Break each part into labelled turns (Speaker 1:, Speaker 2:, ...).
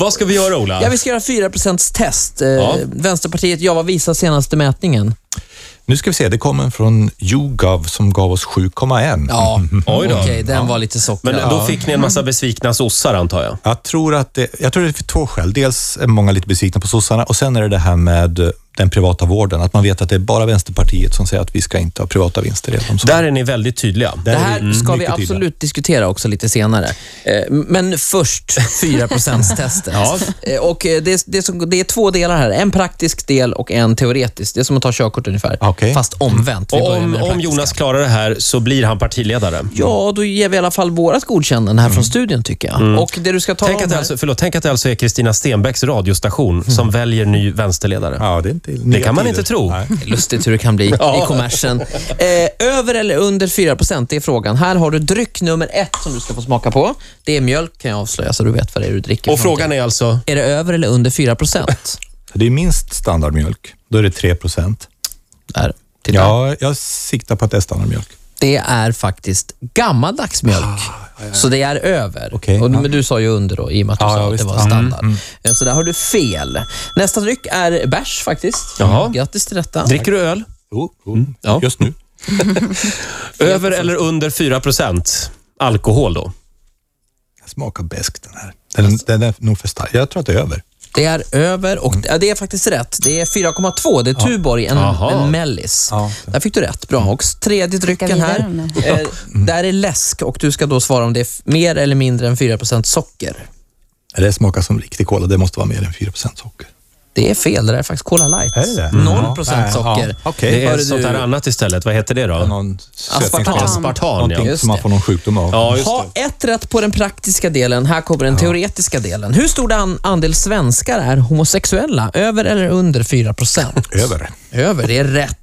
Speaker 1: Vad ska vi göra, Ola?
Speaker 2: Ja, vi ska göra 4 test. Eh,
Speaker 1: Ja.
Speaker 2: Vänsterpartiet Java visar senaste mätningen.
Speaker 3: Nu ska vi se, det kom en från YouGov som gav oss 7,1.
Speaker 2: Ja,
Speaker 1: Mm. Oj då.
Speaker 2: okej, den var lite sockrad.
Speaker 1: Men då fick ni en massa besvikna sossar, antar jag.
Speaker 3: Jag tror att det, jag tror det är två skäl. Dels är många lite besvikna på sossarna och sen är det det här med den privata vården. Att man vet att det är bara Vänsterpartiet som säger att vi ska inte ha privata vinster. redan. Så-
Speaker 1: Där är ni väldigt tydliga.
Speaker 3: där
Speaker 2: det
Speaker 3: är vi
Speaker 1: Mm,
Speaker 2: här ska vi
Speaker 3: mycket
Speaker 2: absolut
Speaker 3: tydliga.
Speaker 2: diskutera också lite senare. Eh, Men först 4 testet
Speaker 1: Ja.
Speaker 2: Och eh, det, är- det, är som, det är två delar här. En praktisk del och en teoretisk. Det är som att ta körkort ungefär,
Speaker 3: Okej.
Speaker 2: fast omvänt. Vi
Speaker 1: Och
Speaker 2: börjar
Speaker 1: om,
Speaker 2: med det
Speaker 1: om
Speaker 2: praktiska.
Speaker 1: Jonas klarar det här så blir han partiledare.
Speaker 2: Ja, då ger vi i alla fall vårat godkännande här från studion, tycker jag. Och det du ska ta
Speaker 1: Mm. Tänk
Speaker 2: om
Speaker 1: att, det
Speaker 2: här...
Speaker 1: alltså, förlåt, tänk att det alltså är Kristina Stenbecks radiostation som väljer ny vänsterledare.
Speaker 3: Ja, det är inte
Speaker 1: Det kan man inte tro.
Speaker 3: Nej.
Speaker 2: Lustigt hur det kan bli i kommersen. Eh, över eller under 4 det är frågan. Här har du dryck nummer ett som du ska få smaka på. Det är mjölk kan jag avslöja, så du vet vad det är du dricker.
Speaker 1: Och
Speaker 2: för
Speaker 1: frågan är alltså?
Speaker 2: någonting. är det över eller under 4 procent?
Speaker 3: Det är minst standardmjölk. Då är det 3 procent.
Speaker 2: Där. Titta.
Speaker 3: Ja, jag siktar på att det är standardmjölk.
Speaker 2: Det är faktiskt gammaldags mjölk.
Speaker 1: Ah,
Speaker 2: Så det är över.
Speaker 3: Okej,
Speaker 2: och,
Speaker 3: ja.
Speaker 2: Men du sa ju under då, i och med att du
Speaker 3: Ja,
Speaker 2: sa
Speaker 3: ja,
Speaker 2: att
Speaker 3: visst. Mm,
Speaker 2: det var
Speaker 3: Ja.
Speaker 2: standard. Eh, Så där har du fel. Nästa dryck är bärs faktiskt.
Speaker 1: Jaha.
Speaker 2: Grattis till detta.
Speaker 1: Dricker du öl?
Speaker 3: Jo, jo
Speaker 1: Ja.
Speaker 3: Mm. just nu.
Speaker 1: Över eller under 4 procent alkohol då?
Speaker 3: Den smakar bäst den här. Den, den är nog för stark. Jag tror att det är över.
Speaker 2: Det är över och
Speaker 3: Mm.
Speaker 2: ja, det är faktiskt rätt. Det är 4,2. Det är Tuborg, en,
Speaker 1: Jaha.
Speaker 2: en mellis.
Speaker 3: Ja. Mm.
Speaker 2: Där fick du rätt. Bra. Och tredje drycken
Speaker 4: vidare
Speaker 2: här.
Speaker 4: om
Speaker 2: Eh, där är läsk och du ska då svara om det är f- mer eller mindre än 4 socker.
Speaker 3: Det smakar som riktig cola. Det måste vara mer än 4 procent socker.
Speaker 2: Det är fel. Det där är faktiskt Cola Light.
Speaker 3: Är det?
Speaker 2: 0
Speaker 3: Mm.
Speaker 2: socker.
Speaker 3: Ja, okej.
Speaker 1: Det är
Speaker 2: Hörru
Speaker 1: sånt
Speaker 2: du.
Speaker 1: där annat istället. Vad heter det då?
Speaker 3: Någon
Speaker 2: Aspartam.
Speaker 3: sötningsgas.
Speaker 1: Aspartam, ja.
Speaker 3: Någonting
Speaker 2: Just
Speaker 3: som man
Speaker 2: det.
Speaker 3: får någon sjukdom av.
Speaker 1: Ja, just
Speaker 2: Ha
Speaker 1: det.
Speaker 2: ett rätt på den praktiska delen. Här kommer den teoretiska delen. Hur stor an- andel svenskar är homosexuella? Över eller under 4
Speaker 3: Över.
Speaker 2: Över, det är rätt.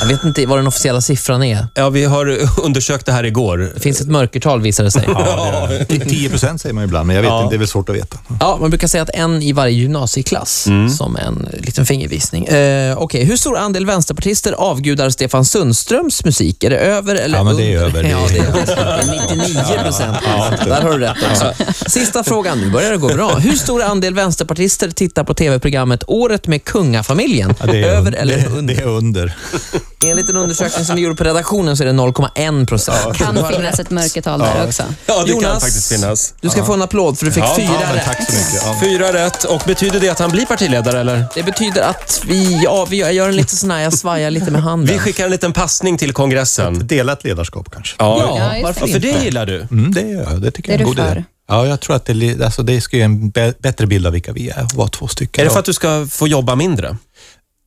Speaker 2: Jag vet inte vad den officiella siffran är.
Speaker 1: Ja, vi har undersökt det här igår.
Speaker 2: Det finns ett mörkertal visar det sig.
Speaker 3: Ja, det är- 10 procent säger man ibland, men jag vet
Speaker 1: Ja.
Speaker 3: inte. Det är väl svårt att veta.
Speaker 2: Ja, man brukar säga att en i varje gymnasieklass,
Speaker 3: Mm.
Speaker 2: som en liten fingervisning. Eh, Okej, hur stor andel vänsterpartister avgudar Stefan Sundströms musik? Är det över eller
Speaker 3: Ja, men det är
Speaker 2: under?
Speaker 3: över. Det är-
Speaker 2: Ja, det är 99 procent. Där har du rätt också. Sista frågan, nu börjar det gå bra. Hur stor andel vänsterpartister tittar på tv-programmet Året med kungafamiljen?
Speaker 3: Ja, det är
Speaker 2: över
Speaker 3: un-
Speaker 2: eller
Speaker 3: det,
Speaker 2: under?
Speaker 3: Det är under.
Speaker 2: Enligt en undersökning som vi gjorde på redaktionen så är det 0,1 procent.
Speaker 4: kan finnas ett mörkertal där också.
Speaker 1: Ja, det kan
Speaker 2: Jonas,
Speaker 1: faktiskt finnas.
Speaker 2: Du ska få en applåd för du fick
Speaker 1: Ja,
Speaker 2: fyra
Speaker 1: ja,
Speaker 3: men
Speaker 2: rätt.
Speaker 3: tack så mycket. Ja.
Speaker 1: Fyra rätt. Och betyder det att han blir partiledare eller?
Speaker 2: Det betyder att vi, ja, vi jag gör en lite sån här, jag svajar lite med handen.
Speaker 1: Vi skickar en liten passning till kongressen.
Speaker 3: Delat ledarskap kanske.
Speaker 1: Ja,
Speaker 2: Ja,
Speaker 4: Ja, just
Speaker 2: varför
Speaker 1: ja för
Speaker 2: inte?
Speaker 1: det gillar du.
Speaker 3: Mm, det gör jag. Det tycker
Speaker 4: Det är
Speaker 3: jag är en
Speaker 4: du
Speaker 3: god idé.
Speaker 4: för.
Speaker 3: Ja, jag tror att det, li- alltså, det ska ge en bä- bättre bild av vilka vi är och vara två stycken.
Speaker 1: Är det för att du ska få jobba mindre?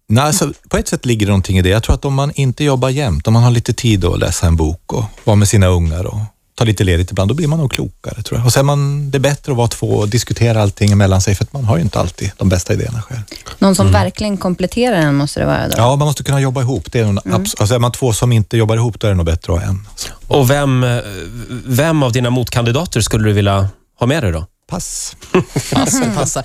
Speaker 3: Nej, alltså, på ett sätt ligger det någonting i det. Jag tror att om man inte jobbar jämt, om man har lite tid att läsa en bok och vara med sina ungar och ta lite ledigt ibland, då blir man nog klokare tror jag. Och sen är man, det är bättre att vara två och diskutera allting emellan sig, för att man har ju inte alltid de bästa idéerna själv.
Speaker 4: Någon som verkligen kompletterar en måste det vara då.
Speaker 3: Ja, man måste kunna jobba ihop. Det är, nog, abs- alltså, är man två som inte jobbar ihop, då är det nog bättre att ha en. Så,
Speaker 1: Och vem, eh, vem av dina motkandidater skulle du vilja ha med dig då?
Speaker 3: pass.
Speaker 2: Pass, det passar.